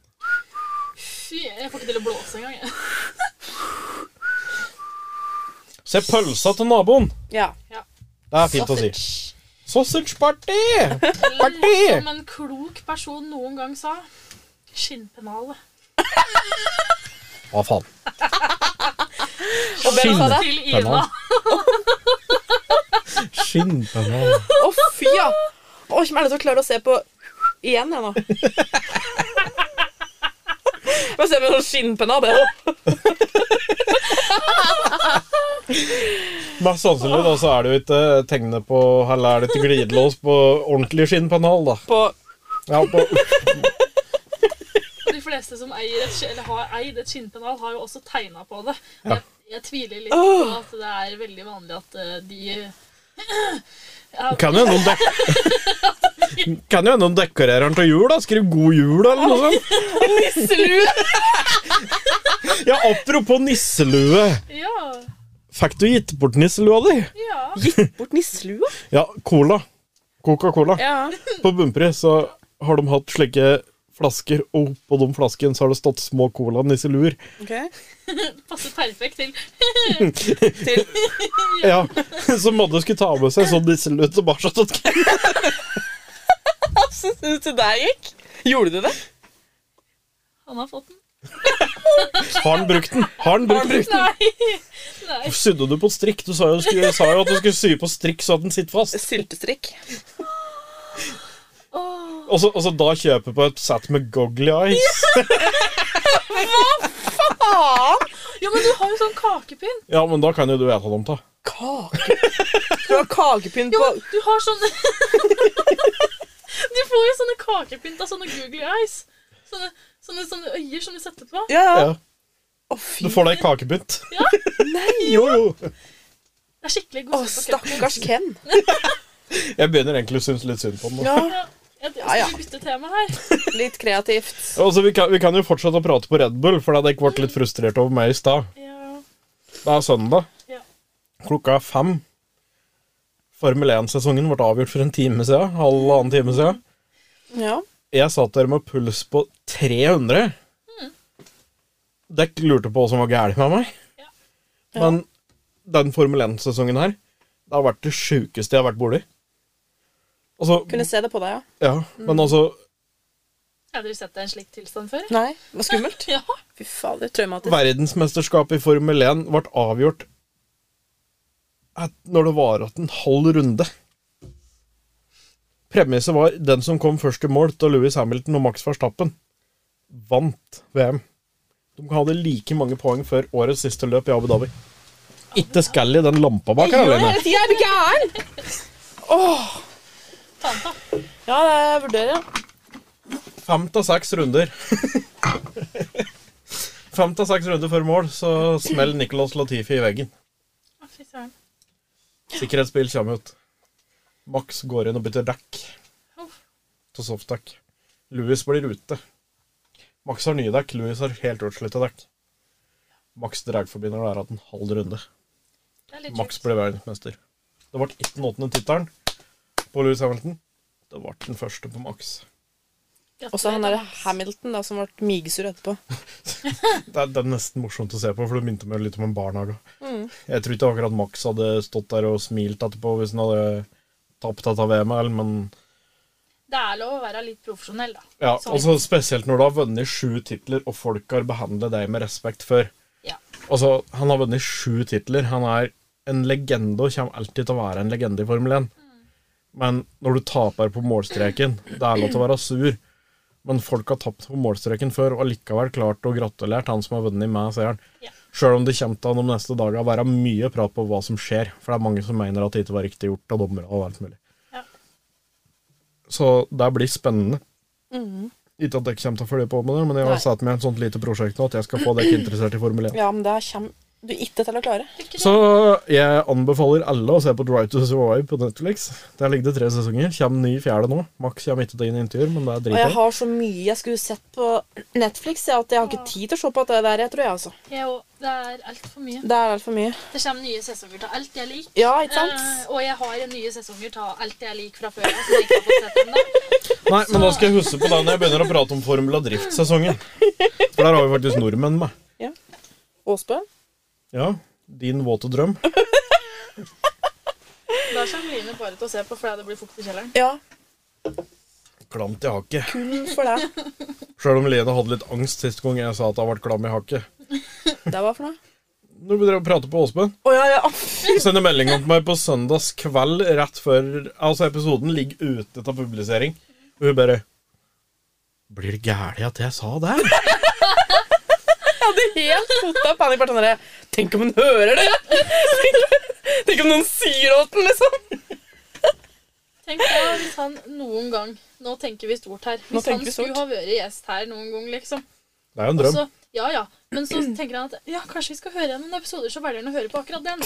Fy, jeg får ikke til å blåse engang. jeg. Se pølsa til naboen! Ja. Det er fint å si. Sausage. Sausage party! Eller Party! som en klok person noen gang sa skinnpennalet. Hva faen? Og hvem sa det? Til Ina. Skinnpennal. Å, fy, ja! Å, kommer alle til å klare å se på igjen, jeg nå. Bare se på sånn skinnpenna. Det. Mest sannsynlig da, så er det jo ikke eh, tegne på Eller er det ikke glidelås på ordentlig skinnpennal, da. På Ja, på, De fleste som eier et, skinn- eller har eid et skinnpennal, har jo også tegna på det. Ja. Jeg, jeg tviler litt på at det er veldig vanlig at eh, de ja, kan jo hende de dek- Kan jo hende de dekorerer den til jul, da. Skriv 'God jul', eller noe sånt. nisselue! Ja, apropos nisselue. ja, Fikk du gitt bort nisselua di? ja. Bort nisselua? Ja, cola. Coca-Cola. Ja. På Bumpri så har de hatt slike flasker, og på de flaskene så har det stått små cola-nisseluer. Ok. Passer perfekt til. Til Ja, Så Madde skulle ta med seg sånn nisselue tilbake til Ken. Hvordan synes du det gikk? Gjorde du det? Han har fått den. Har han brukt den? Har han brukt den? Nei! Nei. Sydde du på strikk? Du sa jo, du skulle, sa jo at du skulle sy på strikk så at den sitter fast. Syltestrikk. Åh, Og så, og så da kjøpe på et sett med goggly eyes. Faen! Ja, men du har jo sånn kakepinn. Ja, men da kan jo du ete dem, da. Kake. Du har kakepynt Jo, på men du har sånn Du får jo sånne kakepynt av sånne googly eyes. Sånne, sånne, sånne øyer som du setter på. Ja, ja. Ja, Å, du fy. får deg kakepynt. Ja. Jo, jo. Det er skikkelig Å, god søt kakepynt. stakkars Ken. Jeg begynner egentlig å synes litt synd på den. nå. Ja, Ja, Jeg Ja, ja. skal bytte tema her. litt kreativt. Altså, vi, kan, vi kan jo fortsette å prate på Red Bull, for da hadde jeg ikke vært litt frustrert over meg i stad. Ja. Det er søndag. Ja. Klokka er fem. Formel 1-sesongen ble avgjort for en time siden. Halvannen time siden. Ja. Jeg satt der med puls på 300. Dere lurte på hva som var galt med meg. Ja. Men den Formel 1-sesongen her, det har vært det sjukeste jeg har vært borti. Altså, Kunne se det på deg, ja. ja, men altså Har dere sett deg i en slik tilstand før? Nei, det var skummelt. Ja. Fy fader, traumatisk. Verdensmesterskapet i Formel 1 ble avgjort at når det var igjen en halv runde. Premisset var den som kom først i mål til Louis Hamilton og Max Verstappen, vant VM. De hadde like mange poeng før årets siste løp i Abu Dhabi. Ikke Scally, den lampa bak her Gjør det alene. hele tiden, er du gæren? Tanta. Ja, det vurderer jeg. Fem til seks runder. Fem til seks runder før mål, så smeller Nicolas Latifi i veggen. Å, Fy søren. Sikkerhetsbil kommer ut. Max går inn og bytter dekk Uff. til softdekk. Louis blir ute. Max har nye dekk, Louis har helt utslutta dekk. Max dragforbinder der hatt en halv runde. Det er litt Max sjukt. ble verdensmester. Det ble ikke den åttende tittelen på Louis Hamilton. Det ble den første på Max. Gratulerer, Og så han der Max. Hamilton da, som ble migesur etterpå. Det er, det er nesten morsomt å se på, for det minte meg litt om en barnehage. Jeg tror ikke akkurat Max hadde stått der og smilt etterpå hvis han hadde tapt dette VM-et, men Det er lov å være litt profesjonell, da. Ja, Sånn. altså Spesielt når du har vunnet sju titler, og folk har behandlet deg med respekt før. Ja. Altså, Han har vunnet sju titler. Han er en legende og kommer alltid til å være en legende i Formel 1. Men når du taper på målstreken Det er lov til å være sur, men folk har tapt på målstreken før og likevel klart å gratulert han som har vunnet med seieren. Ja. Sjøl om det kommer til de neste dagene å være mye prat på hva som skjer, for det er mange som mener at det ikke var riktig gjort av dommere og alt mulig. Ja. Så det blir spennende. Ikke at jeg kommer til å følge på med det, men jeg har Mm. Nei. satt meg et sånt lite prosjekt nå at jeg skal få dere interessert i Formel 1. Ja, men det kommer du ikke til å klare. Så jeg anbefaler alle å se på Drive to Survive på Netflix. Der ligger det tre sesonger. Kjem ny fjerde nå. Max kommer ikke til inn intervjuer, men det er Og jeg dritbra. har så mye jeg skulle sett på Netflix, jeg, at jeg har ikke tid til å se på det der, jeg tror jeg, altså. Jeg òg. Det er altfor mye. Det er altfor mye. Det kommer nye sesonger til alt jeg liker. Ja, ikke Eh, sant? og jeg har nye sesonger til alt jeg liker fra før. Som jeg ikke har fått sett enda. Nei, men da skal jeg huske på det når jeg begynner å prate om Formel og driftssesongen. For der har vi faktisk nordmenn med. Åsbø? Ja. Din våte drøm. Da kommer Line bare til å se på fordi det blir fukt i kjelleren. Ja, Klamt i hakket. kun Mm, for deg. Sjøl om Lene hadde litt angst sist gang jeg sa at hun ble klam i hakket. Det var for noe. Når vi drev og pratet på Åsbøen Å ja, ja. Sende melding om meg på søndagskveld rett før Altså, episoden ligger ute til publisering. Og hun bare Blir det gærent at jeg sa det? Helt fota panikk. Bare sånn der, Tenk om hun hører det! Tenk om noen sier åt den, liksom! Tenk på hvis han noen gang Nå tenker vi stort her. Nå Hvis han tenker vi skulle stort. ha vært gjest her noen gang, liksom. Det er jo en drøm. Så, ja, ja. Men så tenker han at ja, kanskje vi skal høre gjennom noen episoder, så velger han å høre på akkurat den.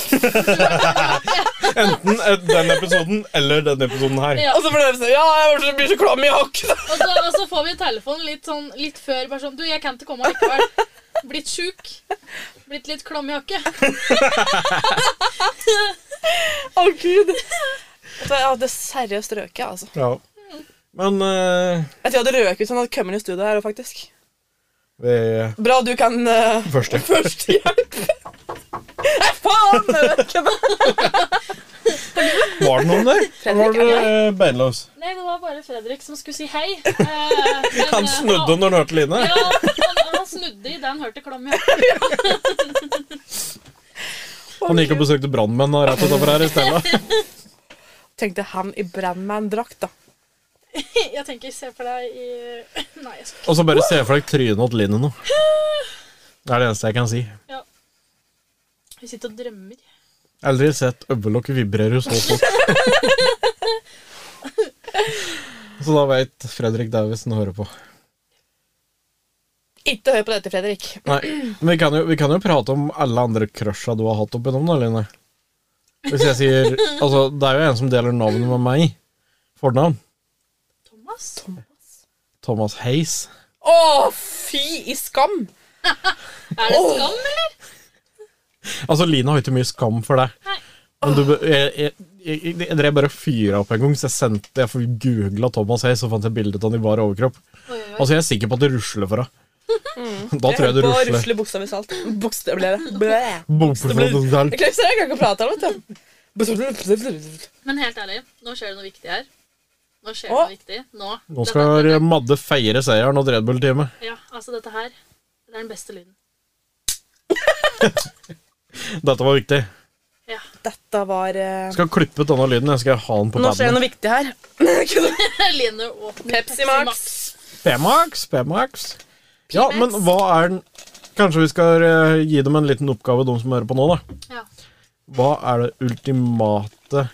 Enten eh, den episoden eller den episoden her. Ja. Og så blir det sånn Ja, jeg blir så- blir så klam i hakket! Og så, og så får vi telefon litt sånn litt før, bare sånn Du, jeg kan ikke komme likevel. Blitt sjuk. Blitt litt klam i jakke. Å, gud. Vet du hva, Jeg hadde seriøst røket, altså. Ja. Men eh, Jeg tror jeg hadde røket hvis han hadde kommet inn i studio her, faktisk. vi Bra du kan eh, Først, ja. førstehjelp. Nei, faen! Jeg vet ikke. Var det noen der? Eller Var det eh, beinløs? Nei, det var bare Fredrik som skulle si hei. Eh, men, eh, Han snudde når han hørte Line. Ja, han, han snudde i det han hørte klam i jakke. Han gikk og besøkte brannmenn da, rett utenfor her i stedet. Tenkte han i Brannman-drakt, da. Jeg tenker, se for deg i Nei, jeg skal ikke. Og så bare se for deg trynet til Line nå. Det er det eneste jeg kan si. Vi sitter og drømmer. Aldri sett øyelokket vibrere så fort. så da veit Fredrik det hvis han hører på. Ikke hør på dette, Fredrik. Nei, men vi kan, jo, vi kan jo prate om alle andre crusha du har hatt opp gjennom, da, Line. Hvis jeg sier Altså, det er jo en som deler navnet med meg. Fornavn. Thomas? Thomas Hayes. Å, fy i skam! Er det skam, eller? Altså, Line har ikke mye skam for det. Nei. Men du, bø- jeg, jeg, jeg, jeg, jeg drev bare og fyra opp en gang, så jeg sendte Jeg googla Thomas Hayes og fant et bilde av han i bar overkropp. Oi, oi, oi. Altså, jeg er sikker på at det rusler for henne. Da tror jeg det På rusler. rusle buksa mi salt. Buksa ble det. Blæ. Bokfor Det blir- Sandal. Jeg klarer ikke- jeg kan ikke prate om det. vet du. Men helt ærlig, nå skjer det noe viktig her. Nå skjer Å. det noe viktig. Nå. Nå skal dette, Madde feire seieren og Red Bull-teamet. Ja, altså dette her. Det er den beste lyden. Dette var viktig. Ja. Dette var eh, Skal klippe ut denne lyden. Jeg skal ha den på Nå skjer paden. det noe viktig her. Line åpner Pepsi Max. P-max, P-max. Ja, men hva er den Kanskje vi skal eh, gi dem en liten oppgave, de som hører på nå, da. Ja. Hva er det ultimate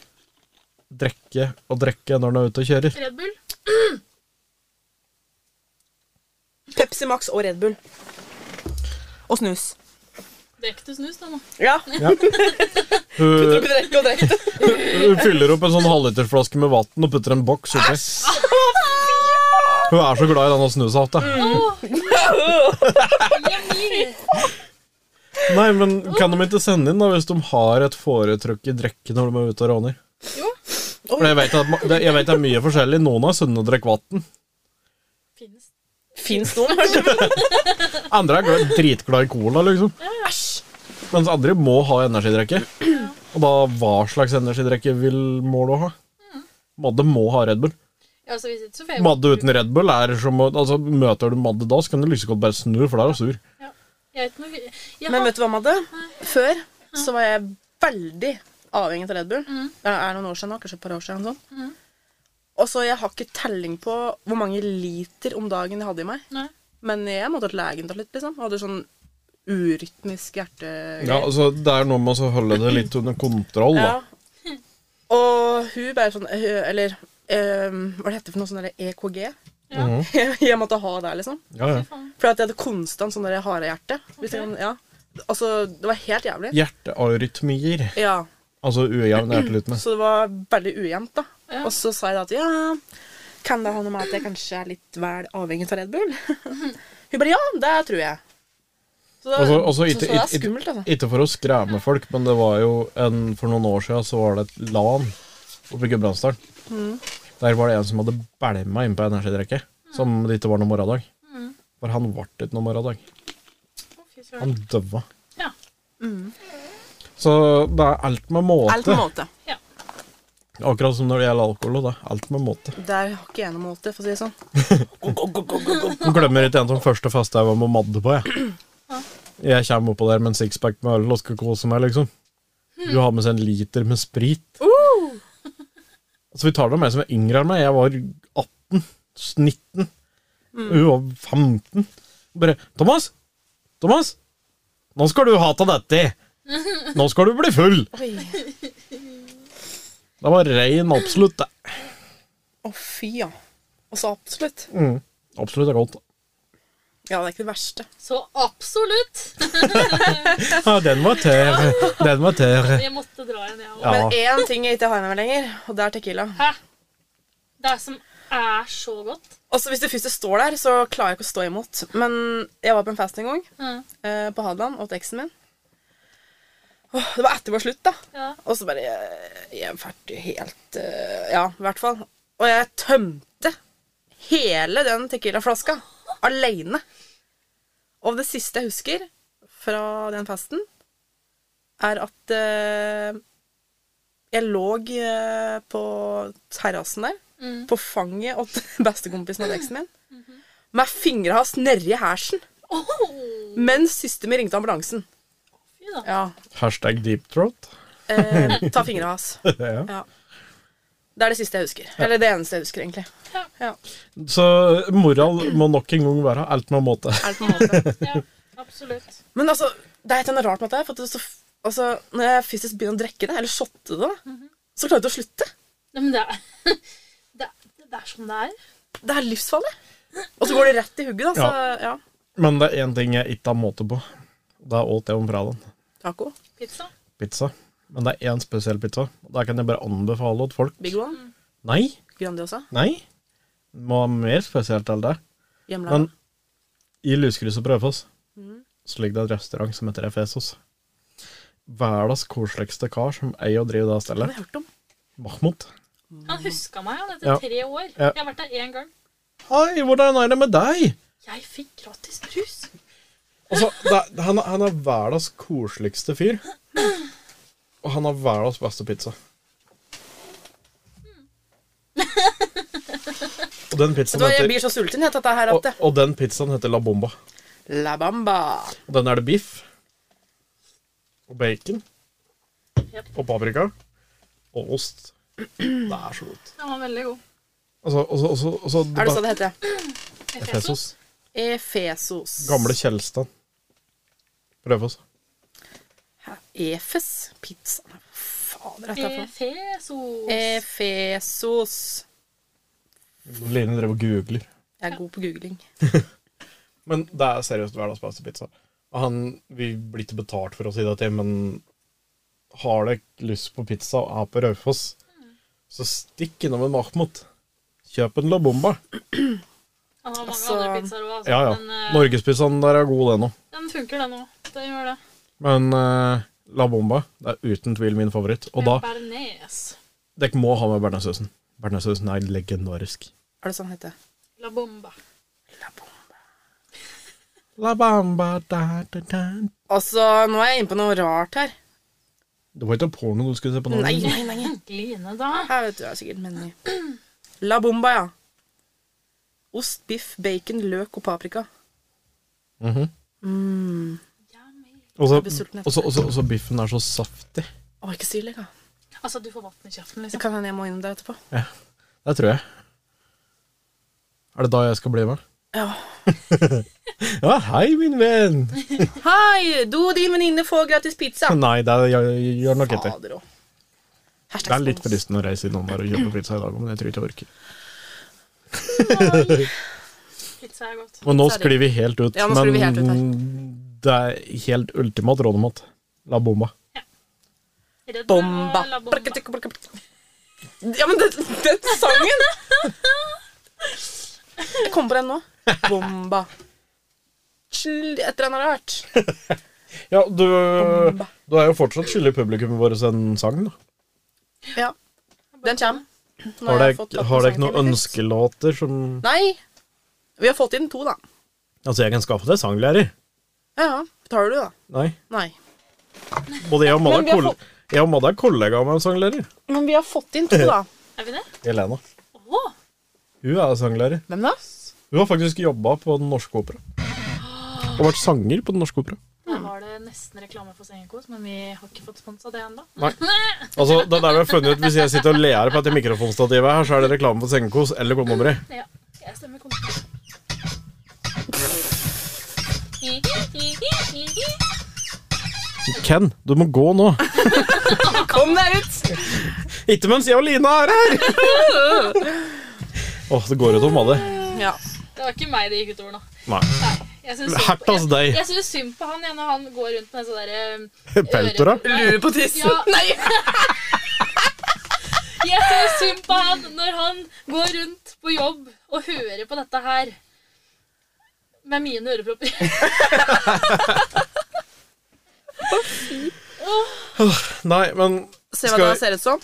drikke å drikke når en er ute og kjører? Red Bull. Pepsi Max og Red Bull. Og snus. Drikker du snus, da nå? Ja. Hun, Drikke og drikke. hun fyller opp en sånn halvlitersflaske med vann og putter en boks oppi. Hun er så glad i denne snusa. at det- Mm. Yummy. Nei, men kan de ikke sende inn da hvis de har et foretrukket drikke når de er ute og råner? Jo. For jeg vet, at, ma- det- jeg vet det er mye forskjellig. Noen er sunne og drikker vann. Finnes. Fins noen, hørte du? Andre er glad, dritglad i cola, liksom. Æsj. Mens andre må ha energidrikke. Og da hva slags energidrikke vil må du ha? Madde må ha Red Bull. Ja, altså, hvis ikke, så får jeg Madde uten Red Bull er som å altså, Møter du Madde da, så kan du like så godt bare snu, for da er hun sur. Jeg vet noe jeg Men har- vet du hva, Madde? Før så var jeg veldig avhengig av Red Bull. Det er noen år siden nå, kanskje et par år siden. Sånn. Og så Jeg har ikke telling på hvor mange liter om dagen jeg hadde i meg. Nei. Men jeg måtte til legen da litt, liksom. Jeg hadde sånn urytmisk hjerte... Ja, altså, det er noe med å holde det litt under kontroll, da. Ja. Og hun bare sånn eh, Eller eh, hva det heter for noe sånn der EKG? Ja. Jeg, jeg måtte ha det, liksom. Ja, ja. Fordi at jeg hadde konstant sånn der harehjerte. Hvis jeg kan- Ja. Altså, det var helt jævlig. Hjertearytmier. Ja. Altså ujevn hjertelytme. Så det var veldig ujevnt, da. Ja. Og så sa jeg da at ja, kan det ha noe med at jeg kanskje er litt vel avhengig av Red Bull? Hun bare ja, det tror jeg. Så, da, Altså, altså, så, ikke, så det er ikke- skummelt, altså. ikke for å skremme folk, men det var jo en, for noen år siden så var det et LAN oppe i Gudbrandsdalen. Mm. Der var det en som hadde bælma inn på energidrikke, som det ikke var noe morgendag. Mm. For han ble ikke noe morgendag. Å, fy søren. Han døva. Ja. Så det er alt med måte. Alt med måte. Akkurat som når det gjelder alkohol. og det er alt med måte. Der har ikke jeg noen måte, for å si det sånn. Jeg glemmer ikke en som første fest jeg var med Madde på. Jeg, jeg kommer oppå der med en sixpack med øl og skal kose meg, liksom. Mm. Du har med seg en liter med sprit. Uh! Så Altså, vi tar det med meg som er yngre enn meg. Jeg var 18, 19. Hun var 15. Bare 'Thomas! Thomas! Nå skal du ha av dette! Nå skal du bli full!' Oi. Det var rein absolutt, det. Å, fy, ja. Og så absolutt. Mm. Absolutt er godt. Ja, det er ikke det verste. Så absolutt! Ja, den var tørr. Den var tørr. Jeg måtte dra igjen, jeg òg. Ja. Men én ting jeg ikke har med meg lenger, og det er tequila. Hæ? Det som er så godt. Altså, Hvis det først står der, så klarer jeg ikke å stå imot. Men jeg var på en fest en gang Mm. eh, på Hadeland åt eksen min. Åh, det var etter vår slutt, da. Ja. Og så bare eh, Jeg er ferdig helt eh, Ja, i hvert fall. Og jeg tømte hele den tequila-flaska aleine. Og det siste jeg husker fra den festen, er at eh, jeg lå eh, på terrassen der, på fanget til bestekompisen av eksen min, med fingra hans nedi hersen, Åh, mens søster mi ringte ambulansen. fy da. Ja, Hashtag deep throat. eh, Ta fingra hans. Ja. Ja. Det er det siste jeg husker. Eller det eneste jeg husker, egentlig. Ja. Ja, Så moral må nok en gang være alt med måte. er det på en måte. Ja, absolutt. Men altså, det er et eller annet rart med dette. For at det er så, f- altså, når jeg fysisk begynner å drikke det, eller shotte det, da, så klarer jeg ikke å slutte. Nei, men det er, det, er- det er sånn det er. Det er livsfarlig. Og så går det rett i hugget, da. Så ja. Men det er én ting jeg ikke har måte på. Det er alt jeg om fredagen. Taco. Pizza. Pizza. Men det er én spesiell pizza. Der kan jeg bare anbefale åt folk. Big One. Nei, Grandiosa. nei. Må ha mer spesielt enn det. Men Hjemmelaga. i Luskrysset på Raufoss Mm. så ligger det et restaurant som heter Efesos. Verdens koseligste kar som eier og driver det Det har stedet. jeg hørt om. Mahmoud. Han huska meg han etter Ja. tre år. Ja. Jeg har vært der én gang. Hei, hvordan er det med deg? Jeg fikk gratis brus. Altså, det, er- han, er- han er verdens koseligste fyr. Og han har verdens beste pizza. Og den Vet pizzaen du hva, jeg heter, blir så sulten jeg, av dette her og, at det- og den pizzaen heter La Bomba. La bamba. Og den er det biff. Og bacon. Yep. Og paprika. Og ost. Det er så godt. Den var veldig god. Altså, også, også, også, Er det sånn det heter? Efesos. Efesos. Gamle Kjeldstad. Raufoss. Hæ? Efes pizza. Hva Fader, dette er for noe. Efesos. Efesos. Line drev og googler. Jeg er god på googling. Men det er seriøst verdens beste pizza. Og Han, vi blir ikke betalt for å si det til, men har dere lyst på pizza og er på Raufoss, så stikk innom en Mahmoud. Kjøp en La Bomba. Han har mange Altså- andre pizzaer òg, altså. Ja, ja. men eh, Norgespizzaen der er god, den òg. den funker, den òg. Den gjør det. Men eh, La Bomba det er uten tvil min favoritt. Og da, Med Bearnés. dere må ha med bearnéssausen. Bearnéssausen er legendarisk. Er det sånn det heter? La bomba. La bomba. La Bamba da, da, da. Altså, nå er jeg inne på noe rart her. Det var ikke porno du skulle se på nå? Mm. Nei, nei, nei. Gline, da. Her vet du, jeg er sikkert meny. La Bomba, ja. Ost, biff, bacon, løk og paprika. Mhm. Mm. Og så- Jeg blir sulten etter. og så- og så- og så biffen er så saftig. Å, ikke syrlig, da. Altså, du får vann i kjeften, Det liksom. kan hende jeg må innom der etterpå. Det tror jeg. Er det da jeg skal bli med? Ja. Ja, hei, min venn. Hei! Du og din venninne får gratis pizza. Nei, det er- gjør- gjør nok ikke. Fader òg. Det er litt fristende å reise innom der og kjøpe pizza i dag, men jeg tror ikke jeg orker. Pizza er godt. Og nå sklir vi helt ut. Ja, nå sklir vi helt ut her. men det er helt ultimat rådemat. La bomba. Red Bull Ah, Bomba. og La Bomba. Barka, tikka, barka, barka. Ja, men den, den sangen Jeg kom på den nå. Bomba. Sl- Et eller annet rart. Ja, du, Bomba. du er jo fortsatt skyldig publikummet vårt en sang, da. Ja. Den kommer. Nå Har dere jeg fått lagt har dere noen ikke noen sangtimer. ønskelåter som Nei. Vi har fått inn to, da. Altså, jeg kan skaffe deg sanglærer. Ja, ja. Betaler du, da? Nei. Nei. Både jeg og Madde Men vi har er koll- fått- jeg og Madde er kollegaer med en sanglærer. Men vi har fått inn to, da. Er vi det? Elena. Åh, Hun er sanglærer. Hvem da? Hun har faktisk jobba på Den norske opera. Og vært sanger på Den norske opera. der var det nesten reklame for Sengekos, men vi har ikke fått sponsa det ennå. Altså, det er der vi har funnet ut Hvis jeg sitter og ler på dette mikrofonstativet her, så er det reklame for sengekos eller kondomeri. Ja, jeg stemmer kontra. Nei, Ken, du må gå nå. Kom deg ut! Ikke mens jeg og Lina er her! Åh, det går ut om Madde. Ja. det var ikke meg det gikk utover nå. Nei. Jeg syns synd, Hertas på- jeg- altså, deg. jeg synes synd på han ja, når han går rundt med sånn derre Peltora. Lue på tissen. Ja. Nei! Jeg syns synd på han når han går rundt på jobb og hører på dette her med mine ørepropper. Nei, men Se hva Skal det vi- ser ut som.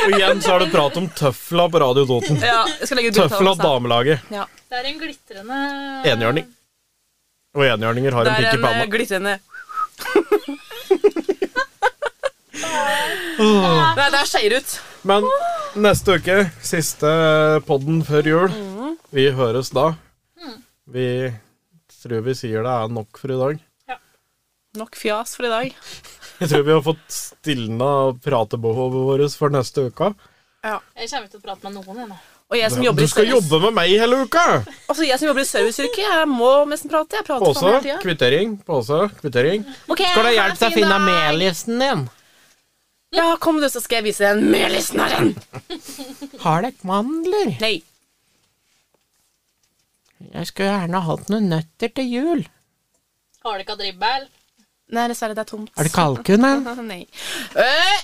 og igjen så er det prat om tøfla på Radio Toten. Ja, jeg skal legge ut Tøfla bildet av damelaget. oss da. Ja. Det er en glitrende Enhjørning. Og enhjørninger har Det en er pikk i en eh, panna. glitrende Nei, det er skeier ut. Men neste uke, siste podden før jul. Mm. Vi høres da. Vi tror vi sier det er nok for i dag. Nok fjas for i dag. Jeg tror vi har fått stilna pratebehovet vårt for neste uke. Jeg kommer ikke til å prate med noen ennå. Og jeg som Du jobber i skal service- jobbe med meg hele uka! Altså, jeg som jobber i serviceyrket, jeg må nesten prate. Jeg prater faen Påse, hele tida. kvittering, påse, kvittering. Ok, Skal det ha en hjelpe deg å fin finne dag. Ameliessen din? Ja, kom du, så skal jeg vise deg den melisnaren. Har dere mandler? Nei. Jeg skulle gjerne hatt noen nøtter til jul. Har du ikke hatt ribbel? Nei, dessverre, det er tomt. Er det kalkun, da? Nei. Øh!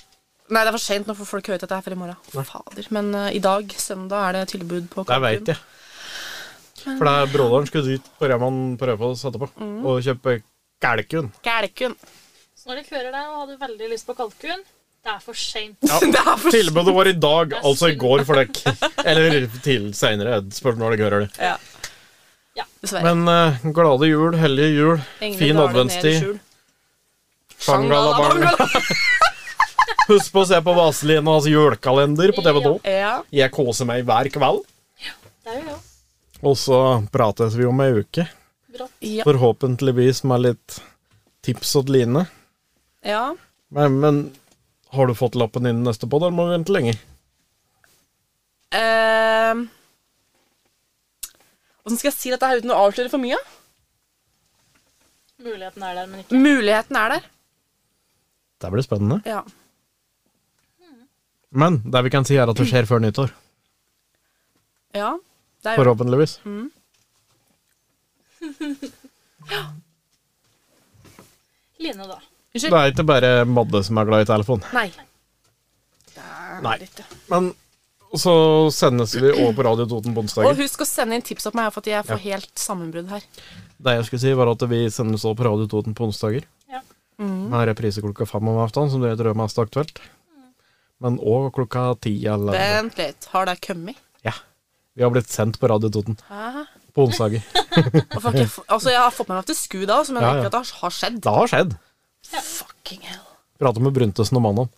Nei, det er for sent. Nå får folk høre dette her før i morgen. Fader. Men eh, i dag, søndag, er det tilbud på Det veit jeg. For det er broderen skulle dit på Reman på Raufoss etterpå Mm. og kjøpe kalkun. Kalkun. Så når dere hører det og hadde veldig lyst på kalkun, det er for seint. det er for Tilbudet var i dag, Det er altså i synd. går for dere. Eller til seinere. Spørs når dere hører det. Ja. Ja. Dessverre. Men eh, glade jul, hellige jul, Engene fin daler ned i adventstid. skjul. Shangala-bangala. Husk på å se på Vaselinas julekalender på TV2. Ja. Jeg koser meg hver kveld. Det er jo jo. Og så prates vi om ei uke. Brått. Ja. Forhåpentligvis med litt tips og line. ja. Men, men har du fått lappen innen neste podd, eller må vi vente lenge? Ehm. Hvordan skal jeg si dette her uten å avsløre for mye? Muligheten er der, men ikke Muligheten er der. Det blir spennende. Ja. Men det vi kan si, er at det skjer før nyttår. ja. Det er jo Forhåpentligvis. Line, da. Det er ikke bare Madde som er glad i telefon. Nei. Det er Nei. det ikke. Men så sendes vi over på Radio Toten på Og onsdager. husk å sende inn tips opp meg, for at jeg får helt sammenbrudd her. Det jeg skulle si, var at vi sendes over på Radio Toten på onsdager. Ja. Med reprise klokka fem om aftenen, som dere tror er mest aktuelt. Men òg klokka ti eller Vent litt. Har det kommet? Ja. Vi har blitt sendt på Radio Toten Hæ? på onsdager. Og fuck, jeg, f- altså, jeg har fått med meg at det sku da, altså, men Ja, ja. ikke at det har- har skjedd. Det har skjedd. Fucking hell. Prata med Bruntesen og mannen.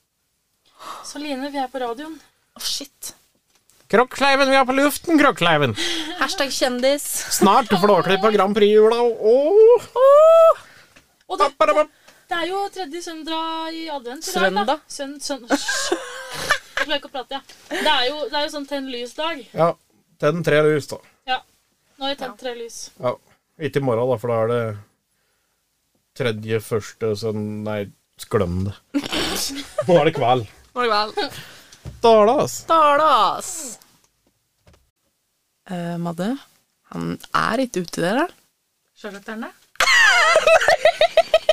Så Line, vi er på radioen. Å, shit. Krokkleiven, vi er på luften, Krokkleiven! Hashtag kjendis. Snart Flåklypa Grand Prix-jula, og Og det, ååå! det er jo tredje søndag i advent i dag, da. Søndag. Søn, søn, Hysj. jeg klarer ikke å prate, jeg. Ja. Det, er jo- det er jo sånn tenn lys-dag. Ja, tenn tre lys, da. Ja. Nå har jeg tent tre lys. Ja. Ikke i morgen, da, for da er det tredje, første sønn... Nei, glem det. Nå er det kveld. Nå er det vel. Da er det, altså. Stalas! Eh, Madde, han er ikke ute der, da. Charlotterne?